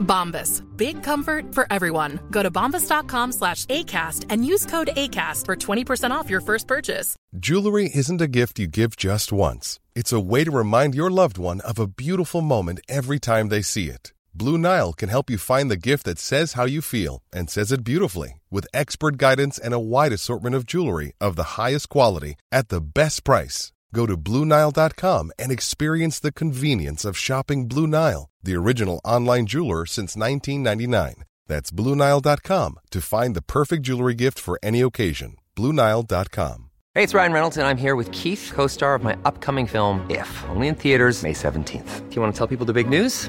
Bombas. Big comfort for everyone. Go to bombas.com slash ACAST and use code ACAST for 20% off your first purchase. Jewelry isn't a gift you give just once. It's a way to remind your loved one of a beautiful moment every time they see it. Blue Nile can help you find the gift that says how you feel and says it beautifully with expert guidance and a wide assortment of jewelry of the highest quality at the best price. Go to BlueNile.com and experience the convenience of shopping Blue Nile, the original online jeweler since 1999. That's BlueNile.com to find the perfect jewelry gift for any occasion. BlueNile.com. Hey, it's Ryan Reynolds, and I'm here with Keith, co star of my upcoming film, If, only in theaters, May 17th. Do you want to tell people the big news?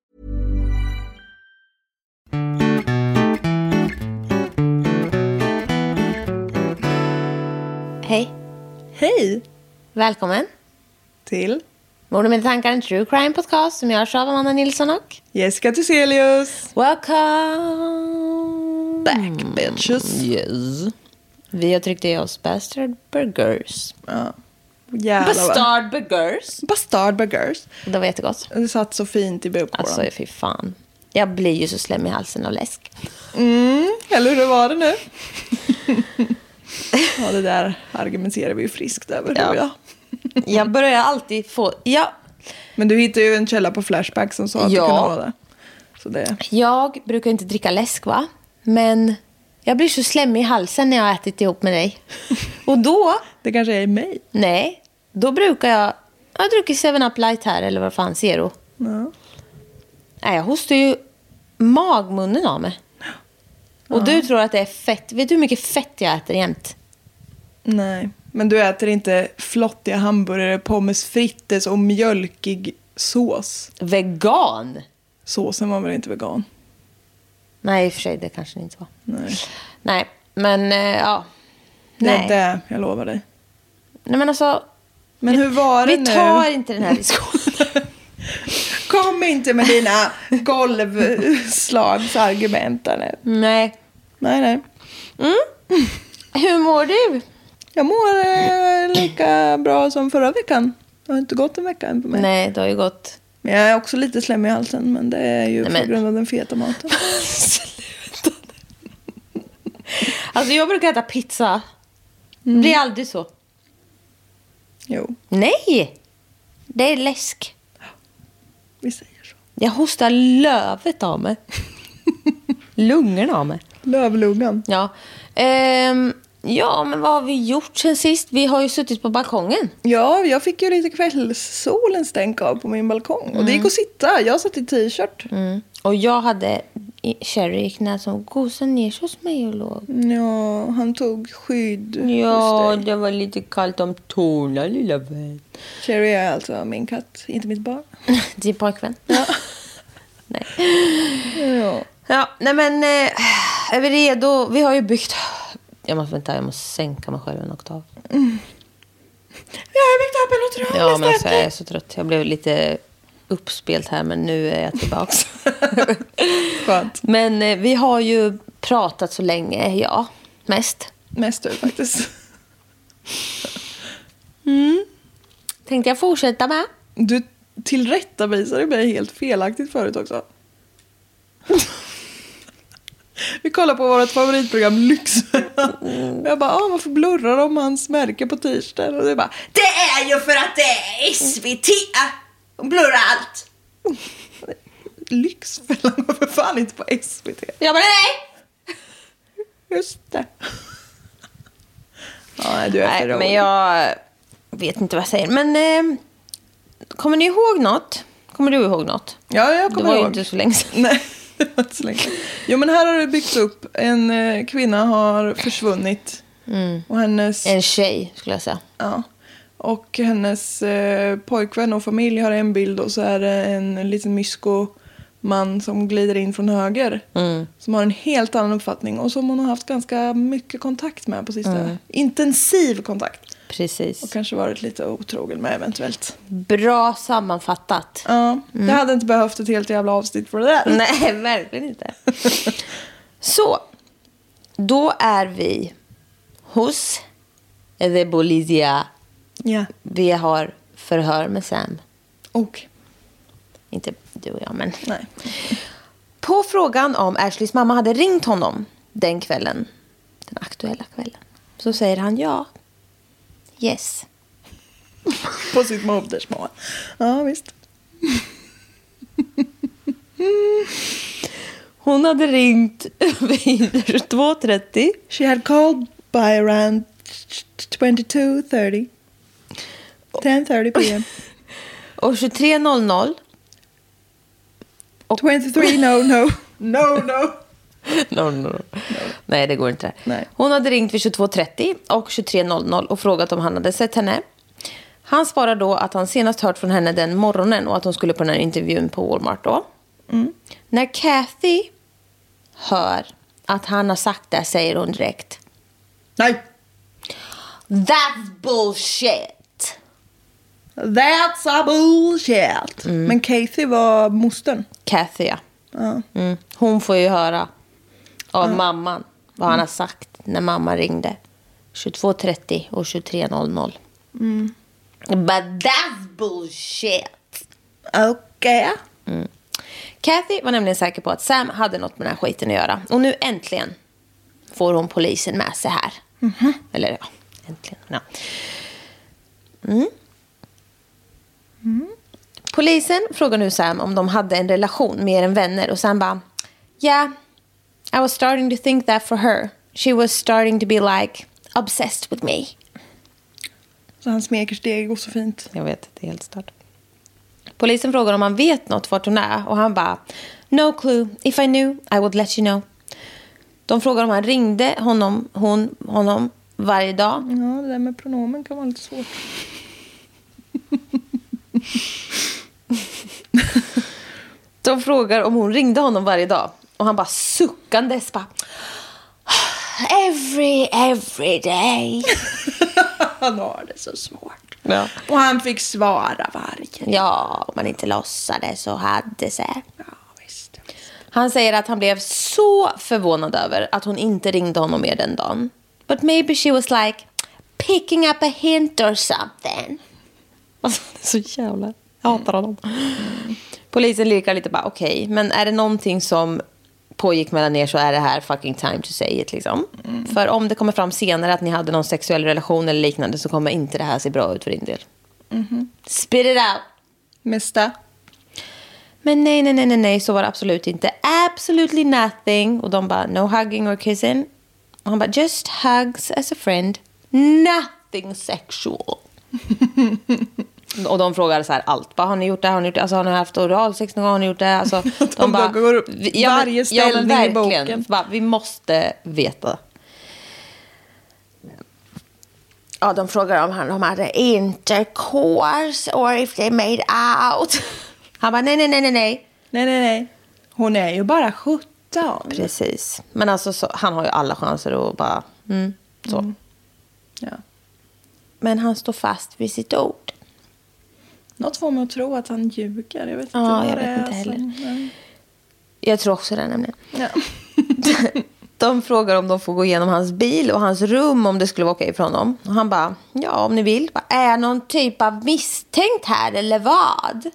Hej! Hej! Välkommen Till Mord och med tankar, en true crime podcast som görs av Amanda Nilsson och Jessica Thyselius. Welcome Back bitches. Yes. Vi har tryckt i oss Bastard Burgers. Jävlar vad- Bastard Burgers. Bastard burgers. Det var jättegott. Det satt så fint i bukåren. Alltså fy fan. Jag blir ju så slem i halsen av läsk. Mm. Eller hur var det nu? ja, det där argumenterar vi ju friskt över. Ja. du och jag. Jag börjar alltid få... Ja, Men du hittade ju en källa på Flashback som sa att Ja. det kunde vara det. Så det. jag brukar inte dricka läsk va? Men jag blir så slem i halsen när jag har ätit ihop med dig. Och då det kanske är i mig. Nej, då brukar jag... Jag har druckit 7-Up Light här, eller vad fan, Zero. Ja. Nej, jag hostar ju magmunnen av mig. Och du tror att det är fett. Vet du hur mycket fett jag äter jämt? Nej, men du äter inte flottiga hamburgare, pommes frites och mjölkig sås. Vegan! Såsen var väl inte vegan? Nej, i och för sig, det kanske det inte var. Nej. Nej, men eh, ja. Nej. Nej. Det är det, jag lovar dig. Nej, men alltså. Men hur var det Vi nu? tar inte den här diskussionen. Kom inte med dina golvslagsargument där nu. nej. Nej, nej. Hur mår du? Jag mår eh, lika bra som förra veckan. Det har inte gått en vecka än för mig. Nej, det har ju gått... Men jag är också lite slem i halsen, men det är ju Nej, men- på grund av den feta maten. Alltså, jag brukar äta pizza. Mm. Det blir aldrig så. Jo, Nej! Det är läsk. vi säger så. Jag hostar lövet av mig. Lungorna av mig. Lövlungan. Ja. Ehm, ja, men vad har vi gjort sen sist? Vi har ju suttit på balkongen. Ja, jag fick ju lite kvällssolens stänk av på min balkong. Och Mm. det gick att sitta. Jag satt i t-shirt. Och jag hade i- Cherry i knät som gosade ner sig hos mig och låg. Ja, han tog skydd Ja, hos dig. det var lite kallt om tårna, lilla vän. Cherry är alltså min katt, inte mitt barn. Din pojkvän. Ja. Ja, nej men eh, är vi redo? Vi har ju byggt... Jag måste vänta, jag måste sänka mig själv en oktav. Jag har byggt upp en otrolig Ja, men alltså, stämning. jag är så trött. Jag blev lite uppspelt här, men nu är jag tillbaks. Skönt. Men eh, vi har ju pratat så länge, ja. Mest. Mest du faktiskt. Tänkte jag fortsätta med. Du tillrättavisade mig helt felaktigt förut också. Vi kollar på vårt favoritprogram Lyxfällan. Jag bara, ah, varför blurrar de hans märke på t-shirten? Och du bara, det är ju för att det är SVT! De blurrar allt. Lyxfällan går för fan inte på SVT. Jag bara nej! Just det. Ja, nej, du är Nej, för men rolig. jag vet inte vad jag säger. Men eh, kommer ni ihåg något? Kommer du ihåg något? Ja, jag Det kommer var ju ihåg. inte så länge sedan. Nej, det var inte så länge. Jo, men här har det byggts upp. En eh, kvinna har försvunnit. Och hennes, Mm. En tjej skulle jag säga. ja, och hennes eh, pojkvän och familj har en bild och så är det en liten mysko man som glider in från höger. Mm. Som har en helt annan uppfattning och som hon har haft ganska mycket kontakt med på sistone. Mm. Intensiv kontakt. Precis. Och kanske varit lite otrogen med eventuellt. Bra sammanfattat. Ja, jag hade inte behövt ett helt jävla avsnitt för det där. Mm. Nej, verkligen inte. Så, då är vi hos The Bolivia. Ja, Vi har förhör med Sam. och Inte du och jag, men... nej. På frågan om Ashleys mamma hade ringt honom den kvällen, den aktuella kvällen, så säger han ja. Yes. På sitt modersmål. Ja, visst. Hon hade ringt vid 22.30 She had called by around 22.30. Oh. 10.30 p.m. och 23.00. 23, no, no. Oh. No, no. No, no, no. Nej, det går inte. Nej. Hon hade ringt vid 22.30 och 23.00 och frågat om han hade sett henne. Han svarar då att han senast hört från henne den morgonen och att hon skulle på den här intervjun på Walmart då. När Kathy hör att han har sagt det säger hon direkt Nej. That's bullshit! That's a bullshit. Men Kathy var mostern. Kathy, ja. Mm. Hon får ju höra av mamman vad han har sagt när mamma ringde. 22.30 och 23.00. But that's bullshit! Okej. Kathy var nämligen säker på att Sam hade något med den här skiten att göra. Och nu äntligen får hon polisen med sig här. Eller ja, äntligen. Ja. Mm. Polisen frågar nu Sam om de hade en relation mer än vänner och Sam bara Yeah, I was starting to think that for her. She was starting to be like obsessed with me. Så han smeker steg går så fint. Jag vet, det är helt stört. Polisen frågar om han vet något vart hon är och han bara No clue. If I knew I would let you know. De frågar om han ringde honom, hon, honom varje dag. Ja, det där med pronomen kan vara lite svårt. De frågar om hon ringde honom varje dag och han bara suckandes bara Every, every day. Han har det så svårt. Ja. Och han fick svara varje. ja, om man inte låtsades och hade sig. Ja, visst. Han säger att han blev så förvånad över att hon inte ringde honom mer den dagen. But maybe she was like picking up a hint or something. Alltså, det är så jävla... Jag hatar honom. Polisen lirkar lite bara, okej, men är det någonting som pågick mellan er så är det här fucking time to say it liksom. För om det kommer fram senare att ni hade någon sexuell relation eller liknande så kommer inte det här se bra ut för din del. Mm-hmm. Spit it out! Mesta. Men nej, nej, nej, nej, nej, så var det absolut inte. Absolutely nothing. Och de bara, no hugging or kissing. Och han bara, just hugs as a friend. Nothing sexual. och de frågar så här allt. Bara, har ni gjort det? Har ni gjort det? Alltså, har ni haft oralsex någon gång? Har ni gjort det? Alltså, de, De bara går upp "Vi- men- varje ställning i verkligen. boken. Bara, vi måste veta. Ja, de frågar om han de hade intercourse or if they made out. Han bara, nej, nej, nej, nej, nej. Nej, nej, nej. Hon är ju bara 17. Precis. Men alltså, så, han har ju alla chanser att bara... Mm, så. Ja. Men han står fast vid sitt ord. Något får mig att tro att han ljuger. Jag vet inte Ja, vad jag det vet är inte heller. som- nej. Jag tror också det nämligen. Ja. De frågar om de får gå igenom hans bil och hans rum om det skulle vara okej för honom. Och han bara, ja om ni vill. Bara, är jag någon typ av misstänkt här eller vad?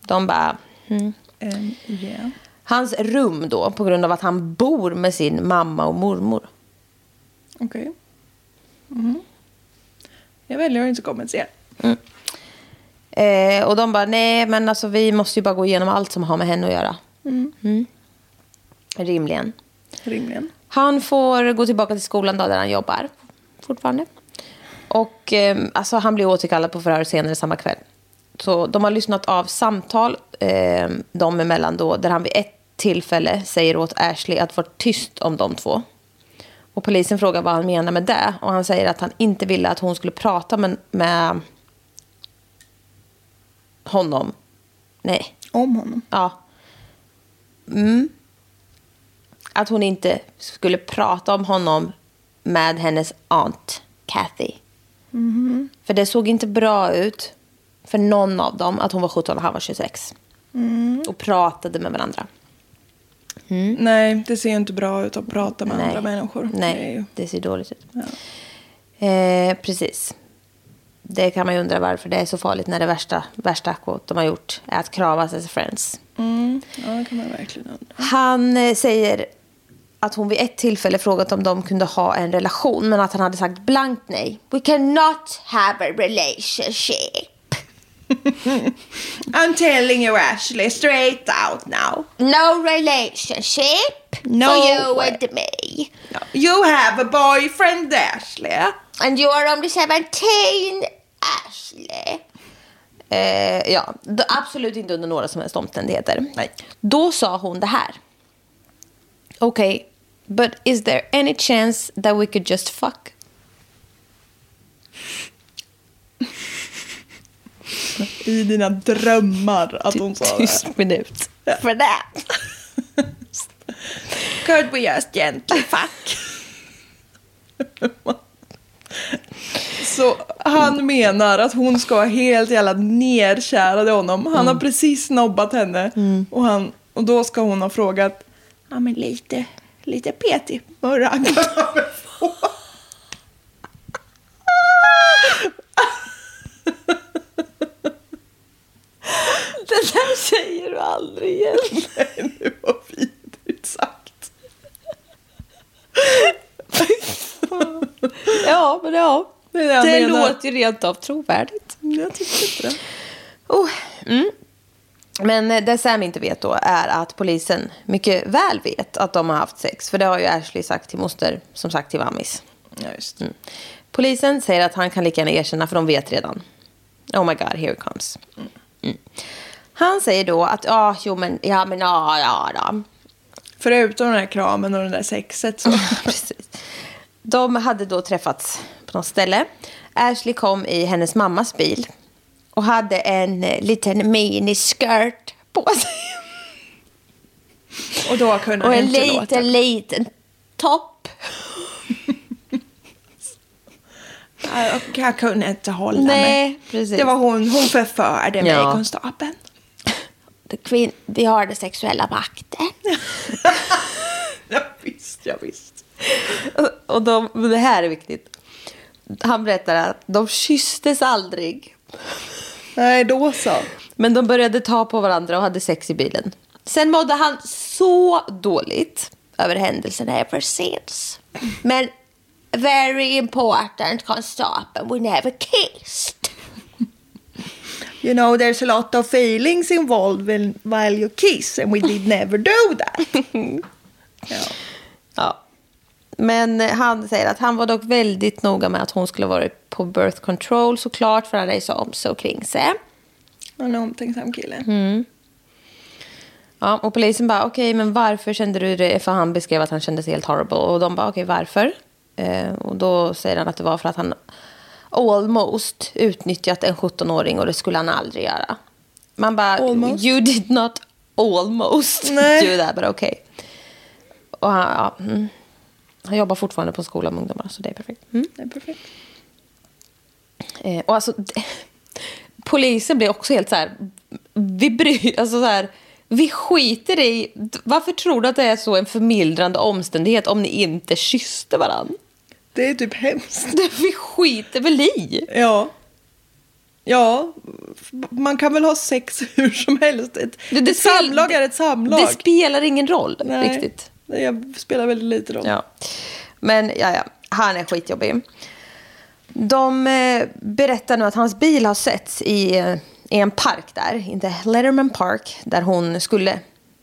De bara, mm. Ehm, ja. Hans rum då, på grund av att han bor med sin mamma och mormor. Okej. Mhm. Jag väljer att inte kommentera. Eh, och de bara, nej men alltså vi måste ju bara gå igenom allt som har med henne att göra. Mm. Rimligen. Rimligen. Han får gå tillbaka till skolan då, där han jobbar ehm, fortfarande. Och eh, alltså, han blir återkallad på förhör senare samma kväll. Så de har lyssnat av samtal eh, de emellan då, där han vid ett tillfälle säger åt Ashley att vara tyst om de två. Och polisen frågar vad han menar med det. Och han säger att han inte ville att hon skulle prata med, med honom. Nej, Om honom. ja. Mm. Att hon inte skulle prata om honom med hennes aunt Kathy. Mm-hmm. För det såg inte bra ut för någon av dem att hon var 17 och han var 26. Mm. Och pratade med varandra. Nej, det ser ju inte bra ut att prata med Nej. andra människor. Det är Nej, ju- det ser dåligt ut. Eh, precis. Det kan man ju undra varför det är så farligt när det värsta, värsta akot de har gjort är att kravas as friends. Ja, det kan man verkligen undra. Han eh, säger att hon vid ett tillfälle frågat om de kunde ha en relation men att han hade sagt blankt nej. We cannot have a relationship. I'm telling you Ashley, straight out now. No relationship No for you way. and me. You have a boyfriend Ashley. And you are only 17, Ashley. Eh, ja, d- absolut inte under några som helst omständigheter. Nej. Då sa hon det här. Okej, okay, but is there any chance that we could just fuck? I dina drömmar att hon sa det. Tyst minut för det. Could we just gently fuck? Så han menar att hon ska vara helt jävla nerkärad i honom. Han har precis snobbat henne och, han, och då ska hon ha frågat Mm. Ja men lite, lite petig murra kan man väl få?" Det där säger du aldrig igen. Nej, det var vidrigt sagt. Ja, men ja. Det är det jag det menar. låter ju rent av trovärdigt. Jag tycker inte det. Oh. Mm. Men eh, det Sam inte vet då är att polisen mycket väl vet att de har haft sex. För det har ju Ashley sagt till moster, som sagt till Vammis. Ja, just. Mm. Polisen säger att han kan lika gärna erkänna för de vet redan. Oh my god, here it comes. Mm. Han säger då att ja, jo men, ja men, ja, ja, då. Förutom den här kramen och det där sexet så... Precis. De hade då träffats på något ställe. Ashley kom i hennes mammas bil och hade en eh, liten miniskirt på sig. Och då kunde Och han en inte låta. liten, liten topp. Jag, jag kunde inte hålla mig. Nej, precis. Det var hon, hon förförde mig, Ja. konstapeln. Kvin- vi har den sexuella makten. Ja, visst, ja, visst. Och de, men det här är viktigt. Han berättar att de kysstes aldrig. Nej, då så. Men de började ta på varandra och hade sex i bilen. Sen mådde han så dåligt över händelsen ever since. Men very important constable, we never kissed. You know there's a lot of feelings involved when, while you kiss and we did never do that. ja. Ja. Men han säger att han var dock väldigt noga med att hon skulle vara på birth control såklart, för han är så om så kring sig. Han är en omtänksam kille. Ja, och polisen bara, okej, men varför kände du det? För han beskrev att han kände sig helt horrible. Och de bara, okej, varför? Eh, och då säger han att det var för att han almost utnyttjat en 17-åring och det skulle han aldrig göra. Man bara, Almost? you did not almost Nej. do that, but okej. Och han, ja, mm. han jobbar fortfarande på en skola med ungdomar, så det är perfekt. Mm. Det är perfekt. Eh, och alltså, d- polisen blir också helt så här... Vi bryr, alltså så här, vi skiter i... d- Varför tror du att det är så en förmildrande omständighet om ni inte kysste varandra? Det är typ hemskt. Vi skiter väl i? Ja. Ja, man kan väl ha sex hur som helst. Ett, Det- det ett samlag är ett samlag. Det spelar ingen roll Nej, riktigt. Det jag spelar väldigt lite roll. Ja. Men ja, ja, han är skitjobbig. De eh, berättar nu att hans bil har setts i, eh, i en park där, inte Letterman Park, där hon skulle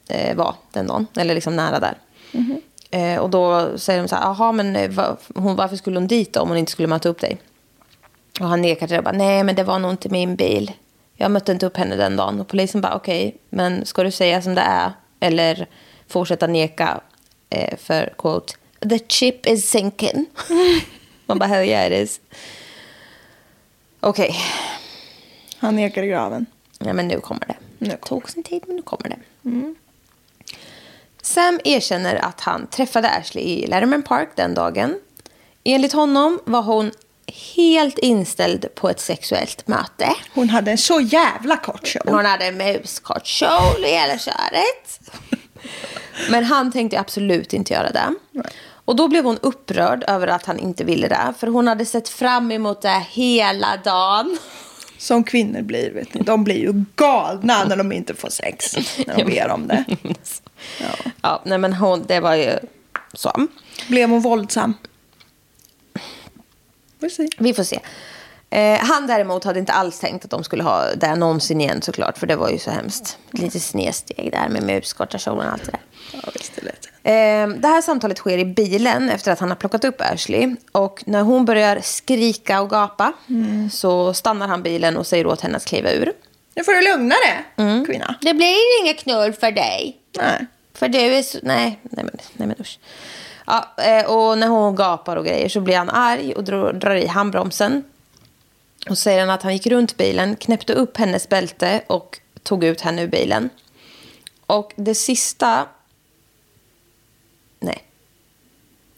eh, vara den dagen, eller liksom nära där. Eh, och då säger de så här, jaha, men eh, va, hon, varför skulle hon dit då, om hon inte skulle möta upp dig? Och han nekar till det och bara, nej, men det var nog inte min bil. Jag mötte inte upp henne den dagen och polisen bara okej, men ska du säga som det är eller fortsätta neka eh, för quote the chip is sinking. Man bara hell yeah it is. Okej, Han nekar i graven. ja, men nu kommer det. Nu Det tog sin tid men nu kommer det. Sam erkänner att han träffade Ashley i Letterman Park den dagen. Enligt honom var hon helt inställd på ett sexuellt möte. Hon hade en så jävla kort show. Hon hade en muskort kjol och hela köret. Men han tänkte absolut inte göra det. Och då blev hon upprörd över att han inte ville det. För hon hade sett fram emot det hela dagen. Som kvinnor blir, vet ni. De blir ju galna när de inte får sex. När de ber om det. Ja. Ja, nej men hon, det var ju så. Blev hon våldsam? Får se. Vi får se. Eh, han däremot hade inte alls tänkt att de skulle ha det någonsin igen såklart. För det var ju så hemskt. Ett litet snedsteg där med muskorta kjolen och allt det där. Ja, visst är det. Eh, Det här samtalet sker i bilen efter att han har plockat upp Ashley. Och när hon börjar skrika och gapa så stannar han bilen och säger åt henne att kliva ur. Nu får du lugna dig, Mm. kvinna. Det blir inget knull för dig. Nej. För du är så... Nej, nej men, nej, men usch. Ja, eh, och när hon gapar och grejer så blir han arg och drar, drar i handbromsen. Och säger han att han gick runt bilen, knäppte upp hennes bälte och tog ut henne ur bilen. Och det sista... Nej.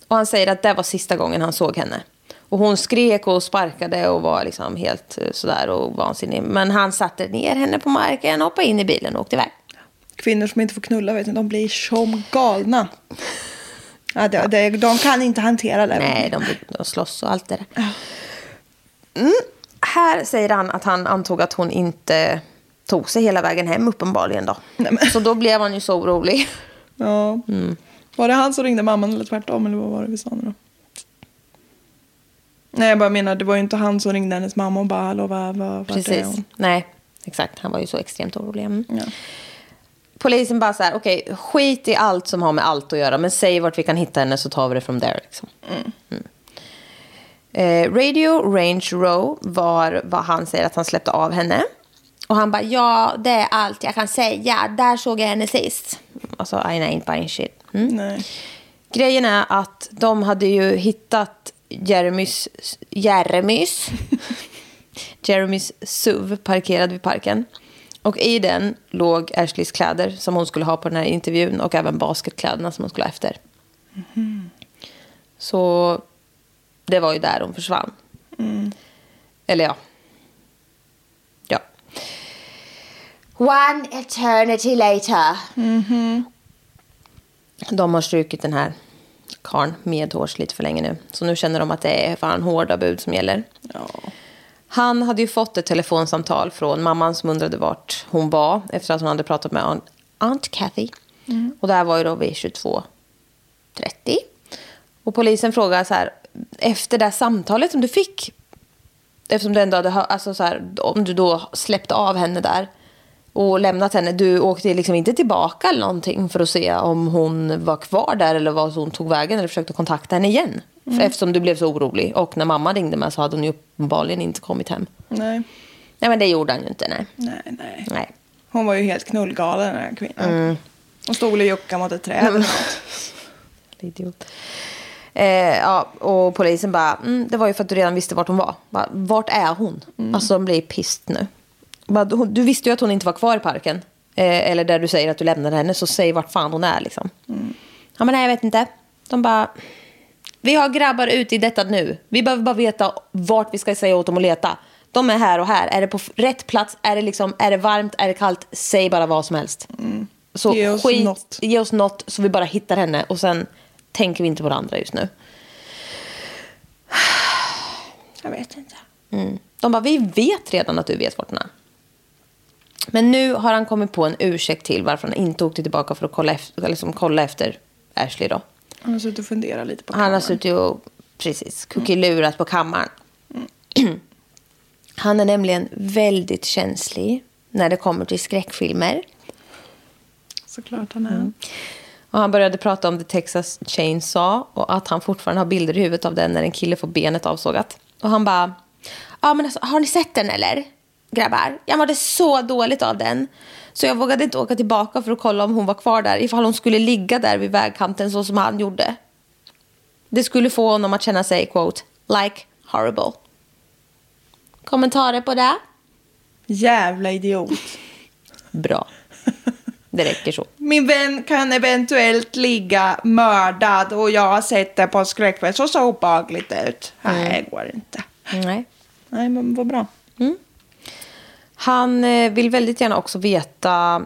Och han säger att det var sista gången han såg henne. Och hon skrek och sparkade och var liksom helt eh, sådär och vansinnig. Men han satte ner henne på marken, hoppade in i bilen och åkte iväg. Kvinnor som inte får knulla, vet ni, de blir som galna. Ja, det, det, de kan inte hantera det. Nej, de, de slåss och allt det där. Mm. Här säger han att han antog att hon inte tog sig hela vägen hem uppenbarligen då. men- Så då blev han ju så orolig. Ja. Mm. Var det han som ringde mamman eller tvärtom? Eller vad var det vi sa nu då? Nej, jag bara menar, det var ju inte han som ringde hennes mamma och bara hallå, vad, vad, vart är Precis. hon? Nej, exakt. Han var ju så extremt orolig. Mm. Ja. Polisen bara så här, okej, skit i allt som har med allt att göra, men säg vart vi kan hitta henne så tar vi det från där. Liksom. Mm. Eh, Radio Range Row var vad han säger att han släppte av henne. Och han bara, ja, det är allt jag kan säga. Där såg jag henne sist. Alltså, I ain't buying shit. Mm. Nej. Grejen är att de hade ju hittat Jeremys... Jeremys? Jeremys SUV parkerad vid parken. Och i den låg Ashleys kläder som hon skulle ha på den här intervjun och även basketkläderna som hon skulle ha efter. Så det var ju där hon försvann. Eller ja. Ja. One eternity later. De har strukit den här karn medhårs lite för länge nu. Så nu känner de att det är fan hårda bud som gäller. Han hade ju fått ett telefonsamtal från mamman som undrade vart hon var efter att hon hade pratat med aunt- Aunt Kathy. Och det här var ju då vid 22.30. Och polisen frågar så här, efter det här samtalet som du fick, eftersom du ändå hade hö- alltså så här, om du då släppte av henne där och lämnat henne, du åkte liksom inte tillbaka eller någonting för att se om hon var kvar där eller vad hon tog vägen eller försökte kontakta henne igen. Eftersom du blev så orolig och när mamma ringde mig så hade hon ju uppenbarligen inte kommit hem. Nej. Nej men det gjorde han ju inte, nej. Nej, nej. nej. Mm. Hon var ju helt knullgalen den här kvinnan. Hon stod och juckade mot ett träd. eller något. Idiot. Eh, ja, och polisen bara, mm, det var ju för att du redan visste vart hon var. Bara, vart är hon? Alltså de blir pist nu. Bara, hon- du visste ju att hon inte var kvar i parken. Eh, eller där du säger att du lämnade henne, så säg vart fan hon är liksom. Ja men nej jag vet inte. De bara, vi har grabbar ute i detta nu. Vi behöver bara veta vart vi ska säga åt dem att leta. De är här och här. Är det på f- rätt plats? Är det, liksom, är det varmt? Är det kallt? Säg bara vad som helst. Så Mm. Ge oss skit, något. ge oss något så vi bara hittar henne och sen tänker vi inte på det andra just nu. Jag vet inte. Mm. De bara, vi vet redan att du vet vart den är. Men nu har han kommit på en ursäkt till varför han inte åkte tillbaka för att kolla efter, liksom kolla efter Ashley då. Han har suttit och funderat lite på Han har kameran. suttit och precis kuckelurat på kammaren. Han är nämligen väldigt känslig när det kommer till skräckfilmer. Såklart han är. Mm. Och han började prata om The Texas Chainsaw och att han fortfarande har bilder i huvudet av den när en kille får benet avsågat. Och han bara, ja men alltså, har ni sett den eller? grabbar. Jag mådde så dåligt av den. Så jag vågade inte åka tillbaka för att kolla om hon var kvar där. Ifall hon skulle ligga där vid vägkanten så som han gjorde. Det skulle få honom att känna sig, quote, like horrible. Kommentarer på det? Jävla idiot. Bra. Det räcker så. Min vän kan eventuellt ligga mördad och jag har sett det på en skräckfilm. Så så obehagligt ut. Nej, det går inte. Nej. Nej, men vad bra. Han eh, vill väldigt gärna också veta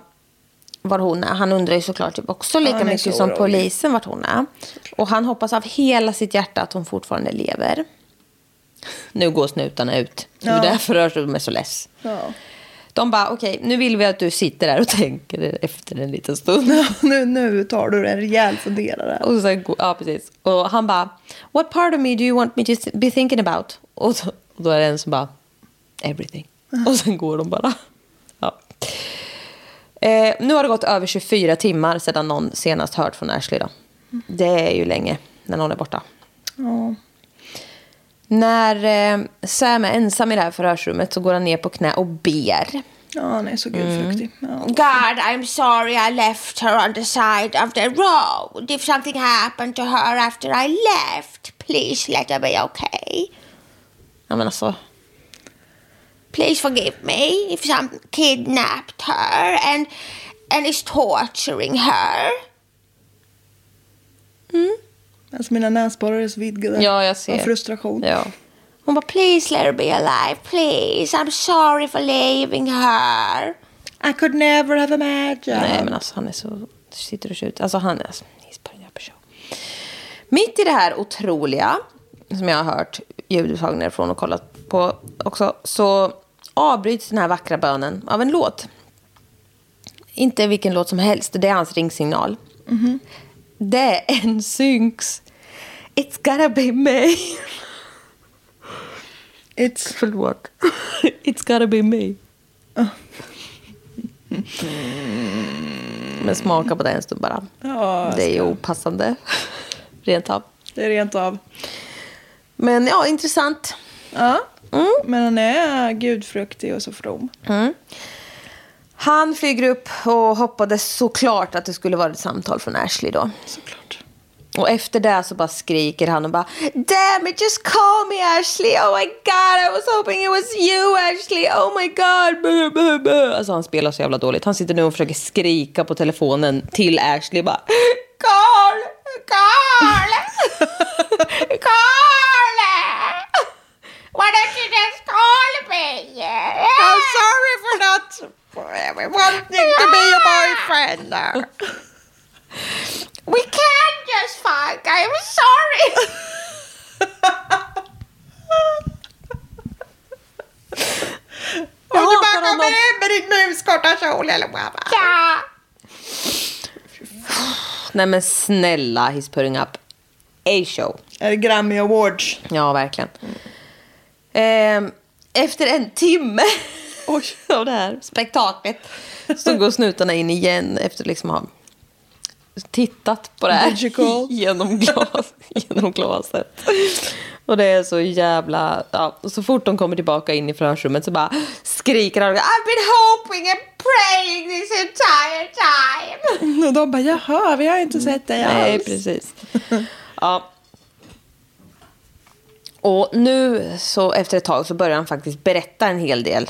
var hon är. Han undrar ju såklart typ också lika han är så mycket som orolig. polisen vart hon är. Och han hoppas av hela sitt hjärta att hon fortfarande lever. Nu går snutarna ut. Det är Ja. därför de är så less. Ja. De bara, okej, nu vill vi att du sitter där och tänker efter en liten stund. Nu, nu tar du en rejäl funderare. Och sen, går- ja, precis. Och han bara, what part of me do you want me to th- be thinking about? Och, så, och då är det en som bara, everything. Och sen går de bara. Ja. Eh, nu har det gått över 24 timmar sedan någon senast hört från Ashley. Då. Det är ju länge när någon är borta. Ja. När eh, Sam är ensam i det här förhörsrummet så går han ner på knä och ber. ja, han är så gudfruktig. Ja. God, I'm sorry I left her on the side of the road. If something happened to her after I left, please let her be okay. Ja, men alltså. Please forgive me if some kidnapped her and and is torturing her. Alltså, mina näsborrar är så vidgade. Ja, jag ser. Av frustration. Ja. Hon bara, please let her be alive, please. I'm sorry for leaving her. I could never have imagined. Nej, men alltså han är så... Sitter och tjuter. Alltså han är... Alltså, he's putting up a show. Mitt i det här otroliga, som jag har hört ljudupptagningar från och kollat på också, så avbryts den här vackra bönen av en låt. Inte vilken låt som helst, det är hans ringsignal. Mm-hmm. Det är en synks. It's gotta be me. It's... Förlåt. It's gotta be me. Men smaka på det en stund bara. Ja, det är ju opassande. Rent av. det är rent av. Men ja, intressant. Ja. Men han är gudfruktig och så from. Han flyger upp och hoppades såklart att det skulle vara ett samtal från Ashley då. Såklart. Och efter det så bara skriker han och bara Damn it, just call me Ashley! Oh my god, I was hoping it was you Ashley! Oh my god! Buh, buh, buh. Alltså han spelar så jävla dåligt. Han sitter nu och försöker skrika på telefonen till Ashley bara Carl! Carl! Carl! Why don't you just call me? I'm sorry for not wanting to be your boyfriend. We can just fuck. I'm sorry. Jag Du bara hatar kommer honom. in med ditt muskorta kjol eller vad? Ja. Nej men snälla, he's putting up a show. Är det Grammy Awards? Ja, verkligen. Ehm, efter en timme av det här spektaklet så går snutarna in igen efter att liksom ha tittat på det Magical. här genom, glas, genom glaset. Och det är så jävla... Ja, och så fort de kommer tillbaka in i förhörsrummet så bara skriker han. I've been hoping and praying this entire time. Och de bara, jaha, vi har inte sett dig Nej, alls. precis. Ja. Och nu så efter ett tag så börjar han faktiskt berätta en hel del.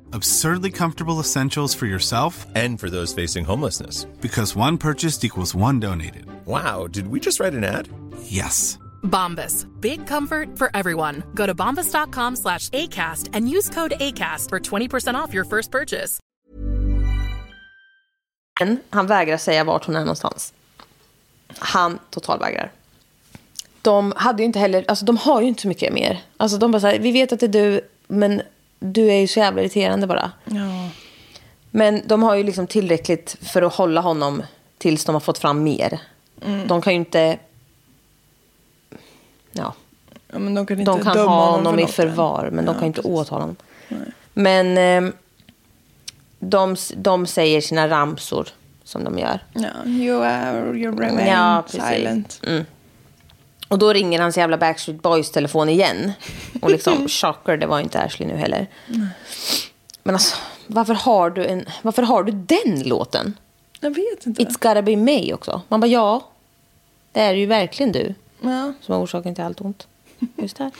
Absurdly comfortable essentials for yourself And for those facing homelessness. because one purchased equals one donated. Wow, did we just write an ad? Yes. Bombas. Big comfort for everyone. Go to bombas.com slash ACAST and use code ACAST for 20% off your first purchase. Men han vägrar säga vart hon är någonstans. Han totalvägrar. De hade ju inte heller, alltså de har ju inte så mycket mer. Alltså de bara så här, vi vet att det är du, men du är ju så jävla irriterande bara. Men de har ju liksom tillräckligt för att hålla honom tills de har fått fram mer. Mm. De kan ju inte... Ja, Ja, men de kan, inte de kan döma ha honom honom för i något förvar, än. men de Ja, kan ju inte precis. åtala honom. Men ehm, de, de säger sina ramsor som de gör. Ja, you are, you remain Ja, precis. Mm. silent. Och då ringer hans jävla Backstreet Boys-telefon igen. Och liksom, shocker, det var inte Ashley nu heller. Men alltså, varför har du, en, varför har du den låten? Jag vet inte. It's gotta be me också. Man bara, ja. Det är ju verkligen du Ja. som är orsaken till allt ont. Just det här.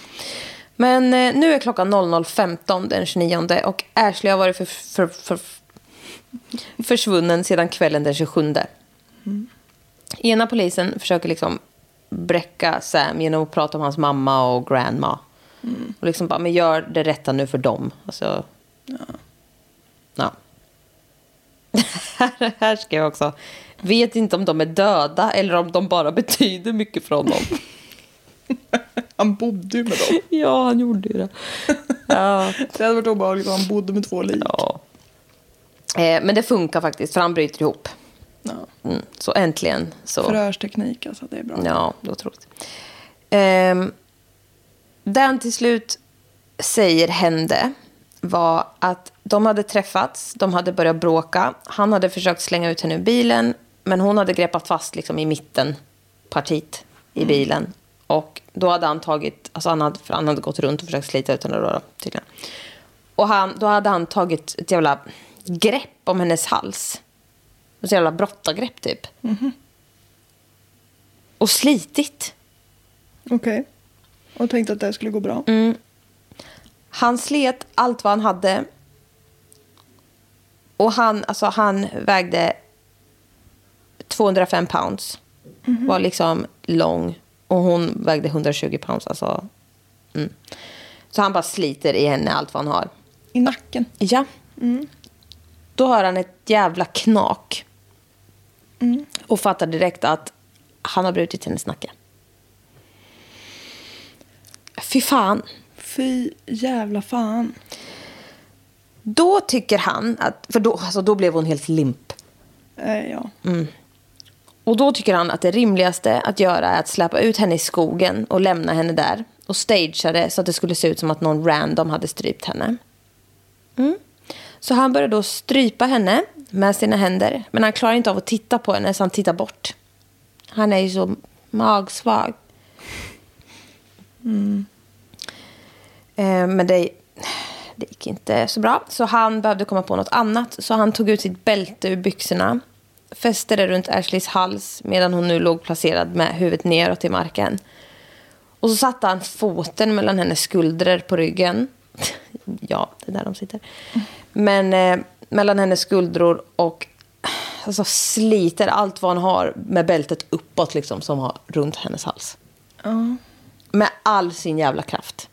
Men eh, nu är klockan 00.15 den 29 och Ashley har varit för, för, för, försvunnen sedan kvällen den 27. Mm. Ena polisen försöker liksom bräcka Sam genom att prata om hans mamma och grandma. Mm. Och liksom bara, men gör det rätta nu för dem. Alltså, ja. Här, här ska jag också. Vet inte om de är döda eller om de bara betyder mycket för honom. Han bodde ju med dem. Ja, han gjorde ju det. Ja. Det hade varit obehagligt om han bodde med två lik. ja. Eh, men det funkar faktiskt, för han bryter ihop. Ja. Mm. Så äntligen så... Förhörsteknik, alltså. Det är bra. Ja, det var otroligt. Ehm, det han till slut säger hände var att de hade träffats, de hade börjat bråka. Han hade försökt slänga ut henne ur bilen, men hon hade greppat fast liksom i mitten partiet i bilen. Och då hade han tagit, alltså han hade, för han hade gått runt och försökt slita ut henne då, då, tydligen. Och han, då hade han tagit ett jävla grepp om hennes hals. Ett jävla brottargrepp typ. Och slitit. Okej. Och tänkte att det här skulle gå bra. Mm. Han slet allt vad han hade. Och han, alltså han vägde 205 pounds. Var liksom lång. Och hon vägde 120 pounds. Alltså, mm. Så han bara sliter i henne allt vad han har. I nacken. Ja. Då hör han ett jävla knak. Och fattar direkt att han har brutit hennes nacke. Fy fan. Fy jävla fan. Då tycker han att, för då, alltså då blev hon helt limp. Eh, ja. Och då tycker han att det rimligaste att göra är att släppa ut henne i skogen och lämna henne där. Och stagea det så att det skulle se ut som att någon random hade strypt henne. Mm. Så han börjar då strypa henne med sina händer. Men han klarar inte av att titta på henne så han tittar bort. Han är ju så magsvag. Eh, Men det, det gick inte så bra. Så han behövde komma på något annat. Så han tog ut sitt bälte ur byxorna. Fäste det runt Ashleys hals medan hon nu låg placerad med huvudet neråt i marken. Och så satte han foten mellan hennes skuldror på ryggen. ja, det är där de sitter. Men eh, mellan hennes skuldror och alltså, sliter allt vad han har med bältet uppåt liksom som har runt hennes hals. Mm. Ja. Med all sin jävla kraft.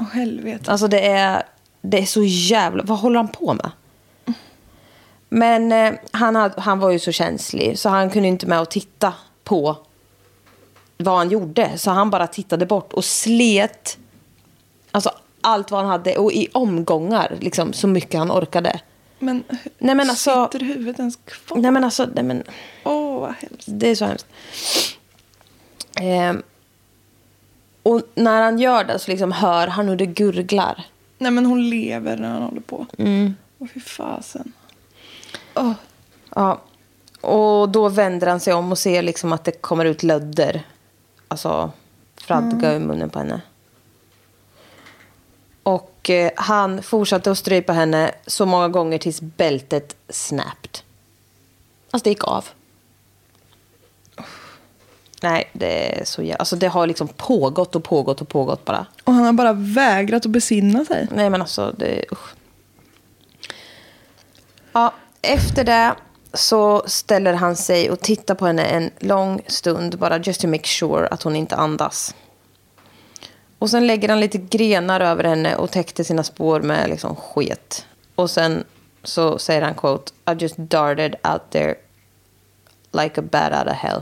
Åh, helvete. Alltså det är, det är så jävla... Vad håller han på med? Men eh, han, hade, han var ju så känslig så han kunde inte med att titta på vad han gjorde. Så han bara tittade bort och slet alltså, allt vad han hade och i omgångar liksom, så mycket han orkade. Men, Nej, men alltså- sitter huvudet ens kvar? Nej men alltså, nej, men, Åh, vad hemskt. det är så hemskt. Ehm, och när han gör det så liksom hör han hur det gurglar. Nej, men hon lever när han håller på. Mm. Åh, fy fasen. Åh. Ja. Och då vänder han sig om och ser liksom att det kommer ut lödder. Alltså fradga ur munnen på henne. Och eh, han fortsatte att strypa henne så många gånger tills bältet snapped. Alltså det gick av. Nej, det är så jävla... Alltså det har liksom pågått och pågått och pågått bara. Och han har bara vägrat att besinna sig. Nej men alltså, det, usch. Ja, efter det så ställer han sig och tittar på henne en lång stund bara just to make sure att hon inte andas. Och sen lägger han lite grenar över henne och täckte sina spår med liksom sket. Och sen så säger han quote, I just darted out there like a bat out of hell.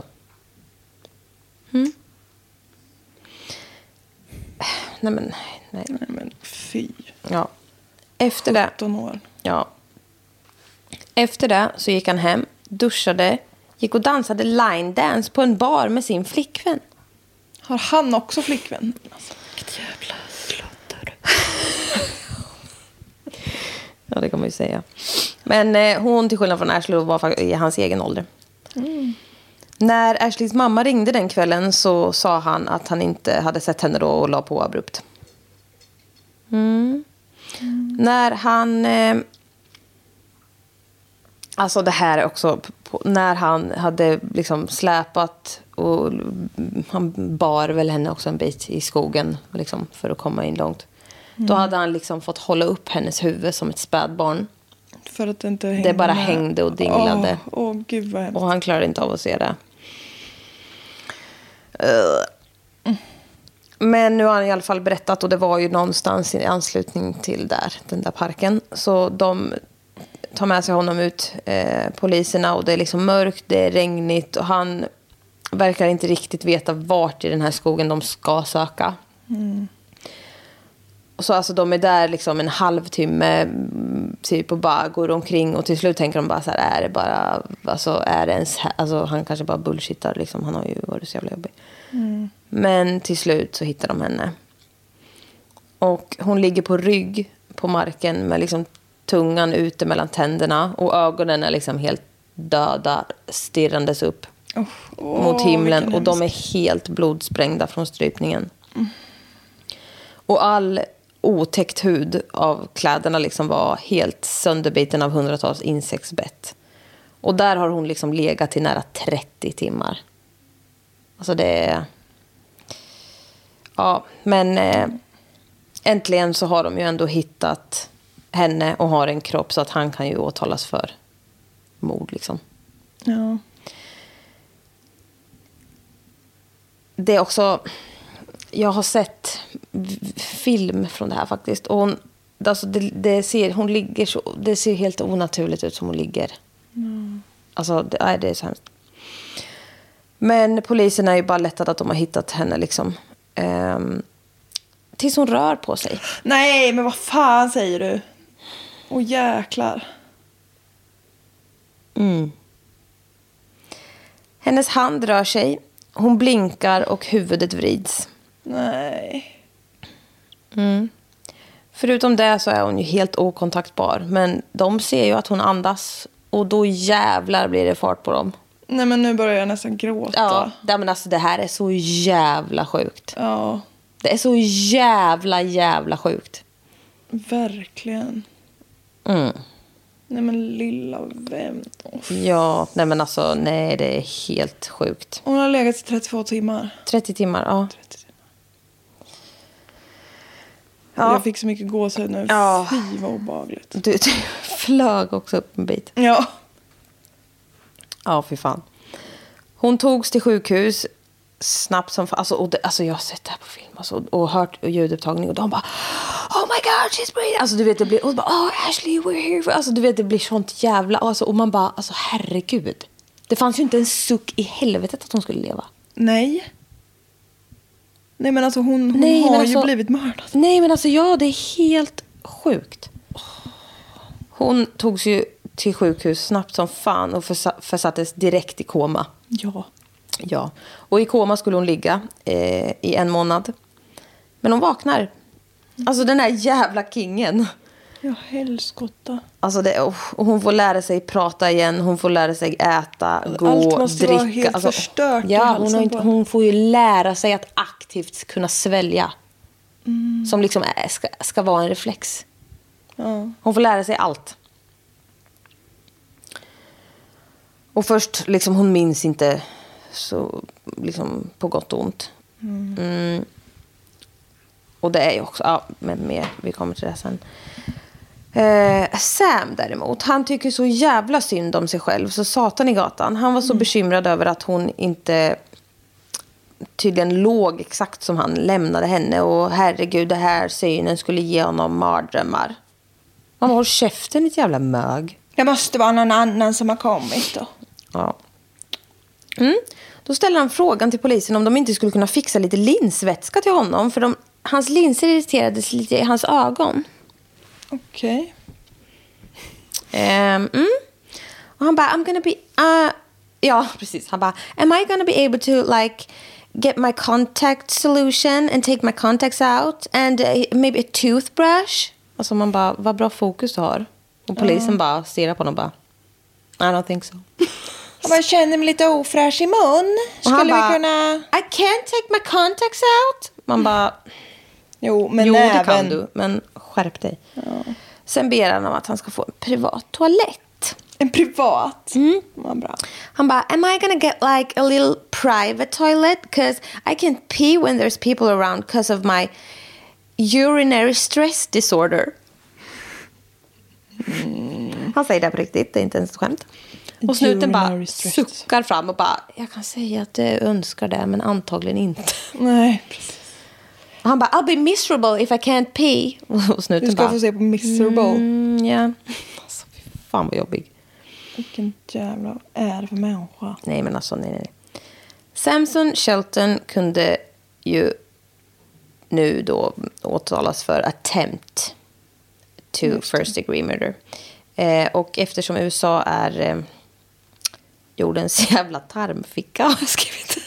Nej men, nej. Nej men fy. Ja. Efter det. 17 år. Ja. Efter det så gick han hem, duschade, gick och dansade line dance på en bar med sin flickvän. Har han också flickvän? Alltså, vilket jävla Ja, det kan man ju säga. Men eh, hon, till skillnad från Ashley, var fak- i hans egen ålder. När Ashleys mamma ringde den kvällen så sa han att han inte hade sett henne då och la på abrupt. Mm. När han... Eh, alltså det här är också... p- På, när han hade liksom släpat och mm, han bar väl henne också en bit i skogen liksom, för att komma in långt. Då hade han liksom fått hålla upp hennes huvud som ett spädbarn. För att det inte hängde bara med. hängde och dinglade. Åh, åh, gud vad hemskt. Och han klarade inte av att se det. Ugh. Eh. Men nu har han i alla fall berättat och det var ju någonstans i anslutning till där, den där parken. Så de tar med sig honom ut, eh, poliserna, och det är liksom mörkt, det är regnigt och han verkar inte riktigt veta vart i den här skogen de ska söka. Och så alltså de är där liksom en halvtimme mm, typ och bara går omkring och till slut tänker de bara så här är det bara, alltså är det ens, här? alltså han kanske bara bullshittar liksom, han har ju varit så jävla jobbig. Men till slut så hittar de henne. Och hon ligger på rygg på marken med liksom tungan ute mellan tänderna och ögonen är liksom helt döda, stirrandes upp Usch, åh, mot himlen vilken och de hemsk. Mm. är helt blodsprängda från strypningen. Och all otäckt hud av kläderna liksom var helt sönderbiten av hundratals insektsbett. Och där har hon liksom legat i nära 30 timmar. Alltså det är... Ja, men eh, äntligen så har de ju ändå hittat henne och har en kropp så att han kan ju åtalas för mord liksom. Ja. det är också... Jag har sett v- film från det här faktiskt. Och hon, alltså det, det, ser, hon ligger så, det ser helt onaturligt ut som hon ligger. Alltså, det, nej, det är så hemskt. Men polisen är ju bara lättade att de har hittat henne. Liksom. Ehm, tills hon rör på sig. Nej men vad fan säger du? Åh jäklar. Hennes hand rör sig, hon blinkar och huvudet vrids. Nej. Förutom det så är hon ju helt okontaktbar. Men de ser ju att hon andas. Och då jävlar blir det fart på dem. Nej men nu börjar jag nästan gråta. Ja, nej, men alltså det här är så jävla sjukt. Ja, Det är så jävla, jävla sjukt. verkligen. Mm. Nej men lilla vän. Åh, f- Ja, nej men alltså nej, det är helt sjukt. Hon har legat i 32 timmar. 30 timmar, ja. 30 timmar. Ja. Jag fick så mycket gåshud nu. Ja. Fy vad obehagligt. Du, du flög också upp en bit. Ja. Ja, fy fan. Hon togs till sjukhus snabbt som fan. Alltså, och det, alltså, jag har sett det här på film alltså, och, och hört ljudupptagning och de bara Oh my god, she's breathing! Alltså du vet, det blir... Och de bara, oh Ashley, we're here for... Alltså du vet, det blir sånt jävla... och Alltså, och man bara, alltså herregud. Det fanns ju inte en suck i helvetet att hon skulle leva. Nej. Nej men alltså hon, hon Nej, men har alltså- ju blivit mördad. Nej, men alltså ja, det är helt sjukt. Hon togs ju till sjukhus snabbt som fan och försa- försattes direkt i koma. Ja. Ja, och i koma skulle hon ligga eh, i en månad. Men hon vaknar. Mm. Alltså den här jävla kingen. Ja helskotta. Alltså det, oh, och hon får lära sig prata igen, hon får lära sig äta, gå, Allt måste dricka. Alltså, oh. vara helt förstört i ja, hon, halsen har inte, på hon får ju lära sig att aktivt kunna svälja. Mm. Som liksom är, ska, ska vara en reflex. Ja. Hon får lära sig allt. Och först, liksom, hon minns inte så, liksom, på gott och ont. Mm. Och det är ju också, ja, men mer, vi kommer till det sen. Eh, Sam däremot, han tycker så jävla synd om sig själv så satan i gatan. Han var så bekymrad över att hon inte tydligen låg exakt som han lämnade henne och herregud, det här synen skulle ge honom mardrömmar. Man håll käften ditt jävla mög. Det måste vara någon annan som har kommit då. Ja. Mm. Då ställer han frågan till polisen om de inte skulle kunna fixa lite linsvätska till honom för de, hans linser irriterades lite i hans ögon. Okej. Ehm, mm. Och han bara, I'm gonna be... Uh, ja, precis. Han bara, am I gonna be able to like get my contact solution and take my contacts out and uh, maybe a toothbrush? Alltså man bara, vad bra fokus du har. Och polisen bara stirrar på honom och bara, I don't think so. Jag bara känner mig lite ofräsch i mun. Och han Skulle bara, vi kunna... I can't take my contacts out. Man bara, Jo, men jo näven. det kan du, men skärp dig. Sen ber han om att han ska få en privat toalett. En privat. Mm. Vad bra. Han bara, am I gonna get like a little private toilet? Cause I can't pee when there's people around cause of my urinary stress disorder. Han säger det på riktigt, det är inte ens ett skämt. Och snuten bara Mm. Urinary stress. suckar fram och bara, jag kan säga att jag önskar det men antagligen inte. Nej, precis. Och han bara, I'll be miserable if I can't pee. Och Du snuten ska bara, få se på Miserable. mm, ja. Alltså, fy fan vad jobbig. Vilken jävla är det för människa? Nej, men alltså nej, nej. nej. Samson Shelton kunde ju nu då åtalas för attempt to first degree murder. Eh, och eftersom USA är eh, jordens jävla tarmficka har jag skrivit.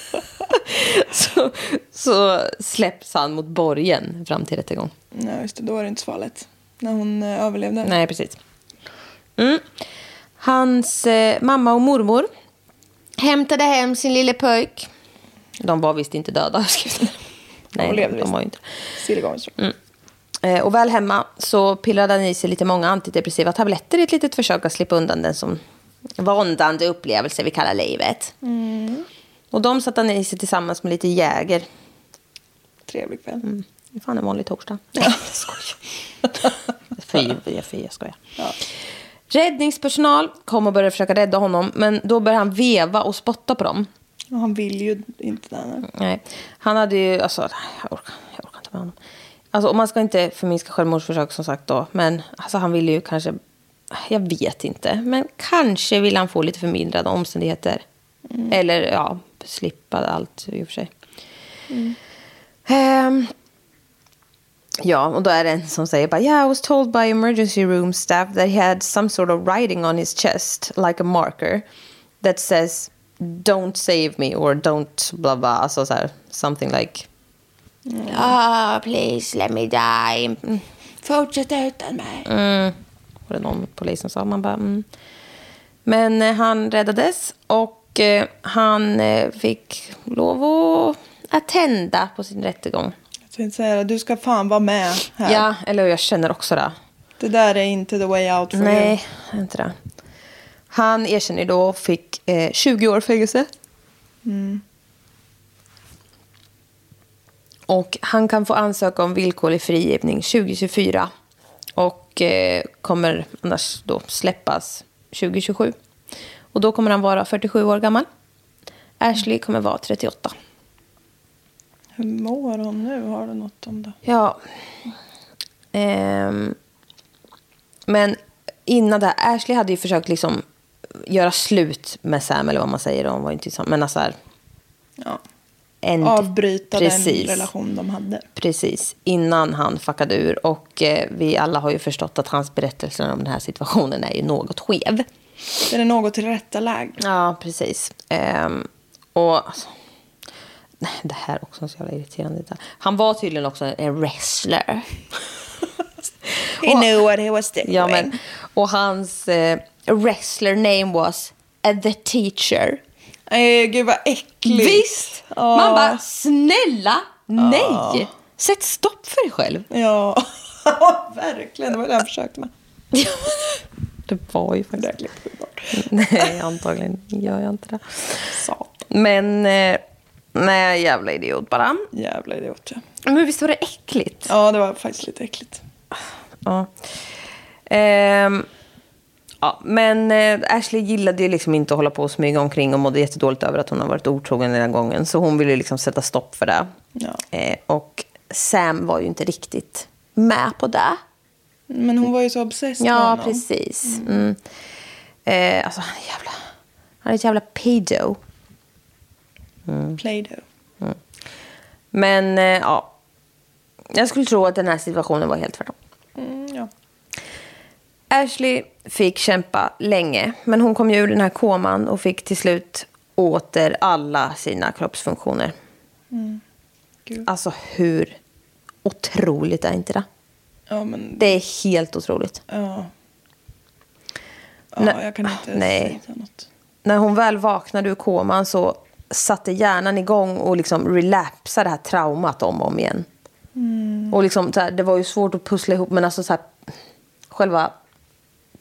så, så släpps han mot borgen fram till rättegång. Nej, just det. Då var det inte så farligt. När hon eh, överlevde. Nej, precis. Mm. Hans eh, mamma och mormor hämtade hem sin lille pojk. De var visst inte döda, har jag skrivit. Nej, levde de visst. var ju inte. Silvergångsrå. Eh, Och väl hemma så pillade han i sig lite många antidepressiva tabletter i ett litet försök att slippa undan den som våndande upplevelse vi kallar livet. Mm. Och de satte han i sig tillsammans med lite Jäger. Trevlig kväll. Det är fan en vanlig torsdag. Nej, jag skojar. Fy, jag- fy, jag skojar. Räddningspersonal kom och började försöka rädda honom, men då började han veva och spotta på dem. Och han vill ju inte det. här. Nej, han hade ju... Alltså, jag orkar, jag orkar inte med honom. Alltså, och man ska inte förminska självmordsförsök som sagt då, men alltså, han ville ju kanske... Jag vet inte, men kanske ville han få lite förmildrande omständigheter. Eller ja, slippa allt i och för sig. Ehm, ja, och då är det en som säger bara Yeah, I was told by emergency room staff that he had some sort of writing on his chest, like a marker, that says Don't save me or don't blah blah, alltså så här, something like Oh, please let me die. Fortsätt utan mig. Mm, Mm. var det någon polis som sa. Man bara, mm. Men eh, han räddades och eh, han eh, fick lov att attenda på sin rättegång. Jag tänkte säga du ska fan vara med här. Ja, eller hur, jag känner också det. Det där är inte the way out for you. Nej, inte det. Han erkänner då och fick eh, 20 år fängelse. Och han kan få ansöka om villkorlig frigivning 2024 och eh, kommer annars då släppas 2027. Och då kommer han vara 47 år gammal. Ashley kommer vara 38. Hur mår hon nu? Har du något om det? Ja. Ehm. Men innan det här, Ashley hade ju försökt liksom göra slut med Sam, eller vad man säger. Hon var ju inte tillsammans. Men alltså här, Ja. en, Avbryta Precis. den relation de hade. Precis, innan han fuckade ur. Och eh, vi alla har ju förstått att hans berättelse om den här situationen är ju något skev. Den är något tillrättalagd. Ja, precis. Ehm, och alltså, nej, det här är också så jävla irriterande. Han var tydligen också en wrestler. He knew what he was doing. Ja, men, och hans eh, wrestler name was eh, The Teacher. Eh, gud vad äckligt. Visst! Ja. Man bara, snälla, nej! Sätt stopp för dig själv. Ja, verkligen. Det var det jag försökte med. Det var ju Det faktiskt... där klippte vi bort. Nej, antagligen gör jag inte det. Satan. Men, eh, nej, jävla idiot bara. Jävla idiot. ja. Men visst var det äckligt? Ja, det var faktiskt lite äckligt. Ja. Ehm, ja, men eh, Ashley gillade ju liksom inte att hålla på och smyga omkring och mådde jättedåligt över att hon har varit otrogen den här gången. Så hon ville ju liksom sätta stopp för det. Ja. Eh, och Sam var ju inte riktigt med på det. Men hon var ju så obsessed med Ja, honom. precis. Mm. Eh, alltså, han är jävla... Han är ett jävla pedo. Mm. Play-Doh. Men eh, ja, jag skulle tro att den här situationen var helt tvärtom. Mm, ja. Ashley fick kämpa länge, men hon kom ju ur den här koman och fick till slut åter alla sina kroppsfunktioner. Gud. Alltså hur otroligt är inte det? ja, men Det är helt otroligt. Ja. Ja, Nej. Ah, jag kan inte Nej. säga något. När hon väl vaknade ur koman så satte hjärnan igång och liksom relapsade det här traumat om och om igen. Och liksom, så här, det var ju svårt att pussla ihop men alltså så här, själva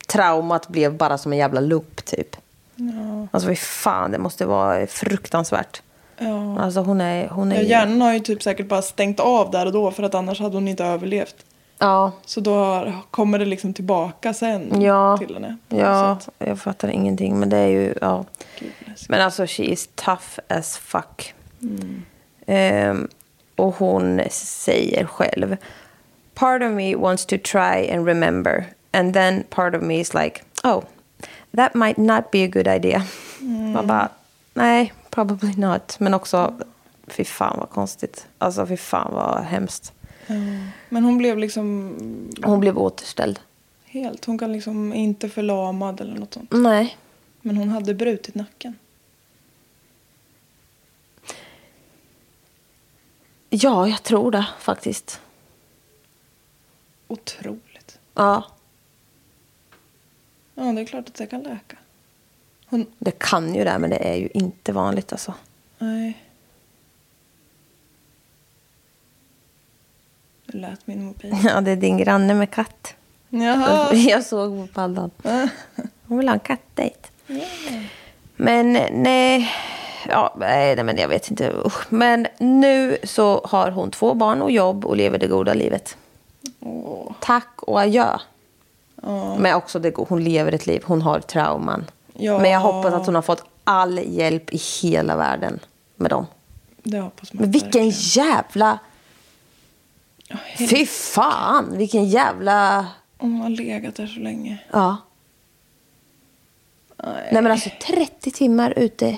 traumat blev bara som en jävla loop typ. Ja. Alltså fy fan, det måste vara fruktansvärt. Ja. Alltså hon är... Hon är Ja, hjärnan har ju typ säkert bara stängt av där och då för att annars hade hon inte överlevt. ja, Så då har- kommer det liksom tillbaka sen ja, till henne. på ja något sätt. jag fattar ingenting men det är ju... Ja. Gud, läskigt. Men alltså she is tough as fuck. Mm. Ehm, och hon säger själv. Part of me wants to try and remember. And then part of me is like, oh, that might not be a good idea. Mm. Man bara, nej, probably not. Men också, fy fan vad konstigt. Alltså fy fan vad hemskt. Men hon blev liksom Hon blev återställd. helt, hon kan liksom inte förlamad eller något sånt. Nej. Men hon hade brutit nacken. Ja, jag tror det faktiskt. Otroligt. Ja, Ja, det är klart att det kan läka. Hon, det kan ju det, men det är ju inte vanligt alltså. nej. Nu lät min mobil. Ja, det är din granne med katt. Jaha. Jag såg på pandan. Hon vill ha en kattdejt. Men nej, ja, nej, nej, men jag vet inte. Usch. Men nu så har hon två barn och jobb och lever det goda livet. Åh. Tack och adjö. Ja. Men också, det, hon lever ett liv, hon har trauman. Ja. Men jag hoppas att hon har fått all hjälp i hela världen med dem. Det hoppas man Men vilken verkligen. jävla... Ja, hel- Fy fan, vilken jävla... Om hon har legat där så länge. Ja. Nej men Eh. alltså 30 timmar ute.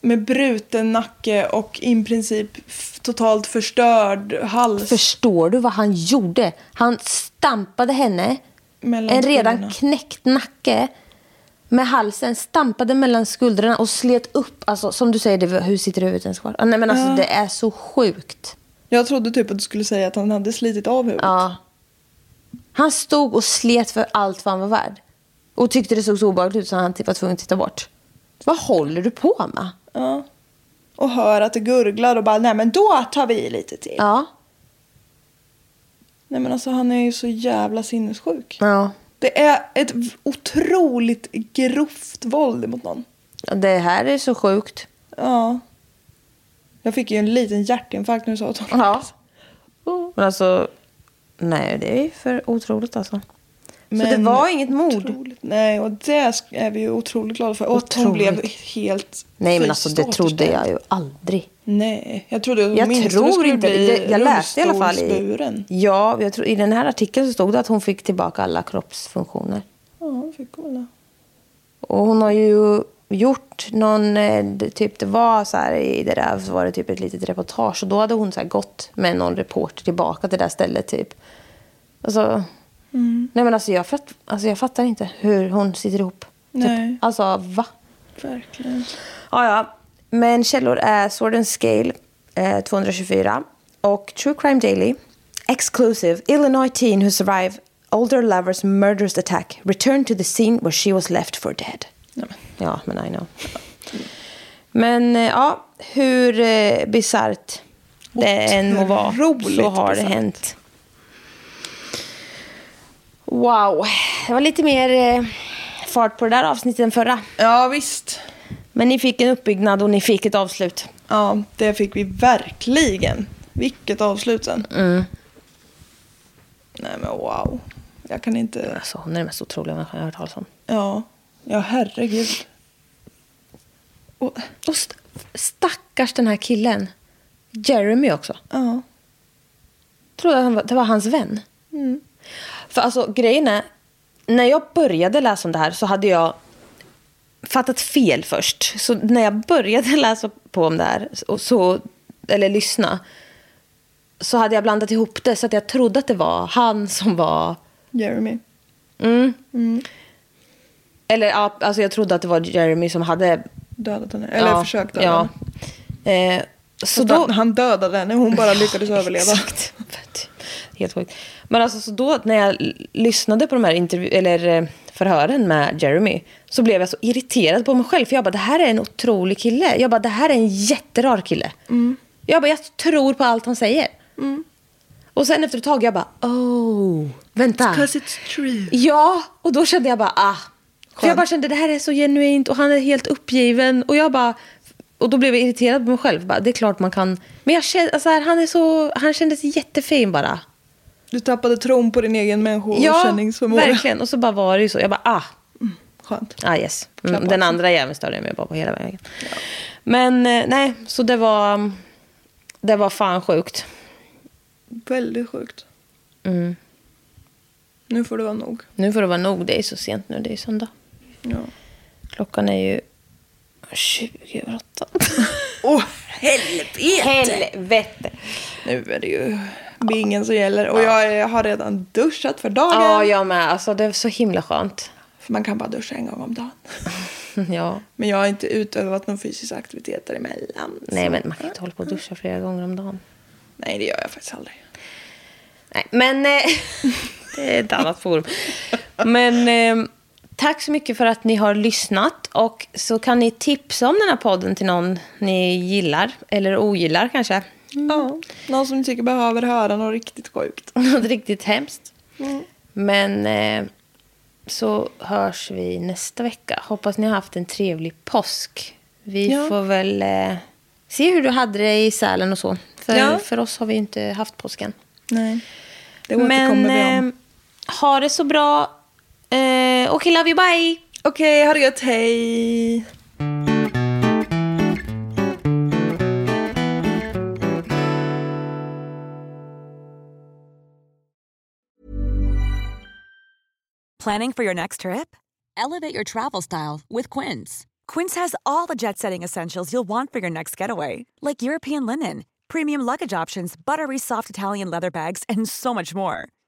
Med bruten nacke och i princip f- totalt förstörd hals. Förstår du vad han gjorde? Han stampade henne. Mellan en redan skulderna. knäckt nacke. Med halsen stampade mellan skulderna och slet upp. Alltså som du säger, det, hur sitter huvudet ens kvar? Ah, Nej men alltså Ja. det är så sjukt. Jag trodde typ att du skulle säga att han hade slitit av huvudet. Ja. Han stod och slet för allt vad han var värd. Och tyckte det såg så obehagligt ut så han typ var tvungen att titta bort. Vad håller du på med? Ja. Och hör att det gurglar och bara, nej men då tar vi i lite till. Ja. Nej men alltså han är ju så jävla sinnessjuk. Ja. Det är ett v- otroligt grovt våld mot någon. Det här är så sjukt. Ja. Jag fick ju en liten hjärtinfarkt när du sa att hon Ja. Men alltså, nej det är ju för otroligt alltså. Men så det var inget mord. Otroligt, nej, och det sk- är vi ju otroligt glada för. Och att hon Otroligt. blev helt Nej men alltså det fysiskt trodde jag ju återställd. aldrig. Nej, jag trodde att hon Jag åtminstone tror skulle inte, bli jag, jag läste i alla fall i, rullstolsburen. ja, jag tror, i den här artikeln så stod det att hon fick tillbaka alla kroppsfunktioner. Ja, fick hon väl det. Och hon har ju gjort någon, eh, det- typ det var så här i det där, så var det typ ett litet reportage och då hade hon så här gått med någon reporter tillbaka till det där stället typ. Alltså, nej men alltså jag, fatt, alltså jag fattar inte hur hon sitter ihop. Nej. Typ. Alltså va? Verkligen. Ja, ja. Men källor är Sword and Scale eh, 224 och True Crime Daily. Exclusive. Illinois teen who survived older lover's murderous attack returned to the scene where she was left for dead. Nej, men. Ja, men I know. Men eh, ja, hur eh, bisarrt det än må vara Otroligt så har det bisarrt. hänt. Wow, det var lite mer eh, fart på det där avsnittet än förra. Ja, visst. Men ni fick en uppbyggnad och ni fick ett avslut. Ja, det fick vi Mm. verkligen. Vilket avslut sen. Nej men wow. Jag kan inte... Alltså, hon är den mest otroliga människan jag har hört talas om. Ja, ja herregud. Och, och st- stackars den här killen. Jeremy också. Ja. Trodde att han var, det var hans vän. Mm. För alltså grejen är, när jag började läsa om det här så hade jag fattat fel först. Så när jag började läsa på om det här, och så, eller lyssna, så hade jag blandat ihop det så att jag trodde att det var han som var Jeremy. Mm. Mm. Eller ja, alltså jag trodde att det var Jeremy som hade... Dödat henne. Eller ja, försökt döda ja. henne. Eh, så Fast då... han- Han dödade henne, hon bara lyckades överleva. Exakt. Helt sjukt. Men alltså så då när jag l- lyssnade på de här intervju- eller eh, förhören med Jeremy så blev jag så irriterad på mig själv. För jag bara, det här är en otrolig kille. Jag bara, det här är en jätterar kille. Mm. Jag bara, jag tror på allt han säger. Och sen efter ett tag, jag bara, oh, vänta. it's true. Ja, och då kände jag bara ah. För jag bara kände det här är så genuint och han är helt uppgiven. Och jag bara, och då blev jag irriterad på mig själv. Bara, det är klart man kan. Men jag kände, alltså här, han, är så, han kändes jättefin bara. Du tappade tron på din egen människokänningsförmåga. verkligen. Och så bara var det ju så. Jag bara ah, Mm, Skönt. ah yes. Klapp Mm, av den sig. andra jäveln störde jag mig bara på hela vägen. Men eh, nej, så det var, det var fan sjukt. Väldigt sjukt. Mm. Nu får det vara nog. Nu får det vara nog, det är så sent nu, det är söndag. Ja. Klockan är ju 20 över åtta. Åh, helvete! Helvete! Nu är det ju bingen som gäller. Och jag är- har redan duschat för dagen. Ja, jag med. Alltså, det är så himla skönt. För man kan bara duscha en gång om dagen. Ja. Men jag har inte utövat någon fysisk aktivitet däremellan. Nej, så- men man kan inte hålla på och duscha flera gånger om dagen. Nej, det gör jag faktiskt aldrig. Nej, men... Eh, det är ett annat forum. Men eh, tack så mycket för att ni har lyssnat. Och så kan ni tipsa om den här podden till någon ni gillar. Eller ogillar kanske. Ja, någon som ni tycker behöver höra något riktigt sjukt. Något riktigt hemskt. Men eh, så hörs vi nästa vecka. Hoppas ni har haft en trevlig påsk. Vi Ja. får väl eh, se hur du hade det i Sälen och så. För, Ja. för oss har vi ju inte haft påsken. Nej. Det återkommer Men vi om. eh, ha det så bra. Eh, Okej, love you, bye! Okej, ha det gött. Hej! Planning for your next trip? Elevate your travel style with Quince. Quince has all the jet setting essentials you'll want for your next getaway, like European linen, premium luggage options, buttery soft Italian leather bags, and so much more.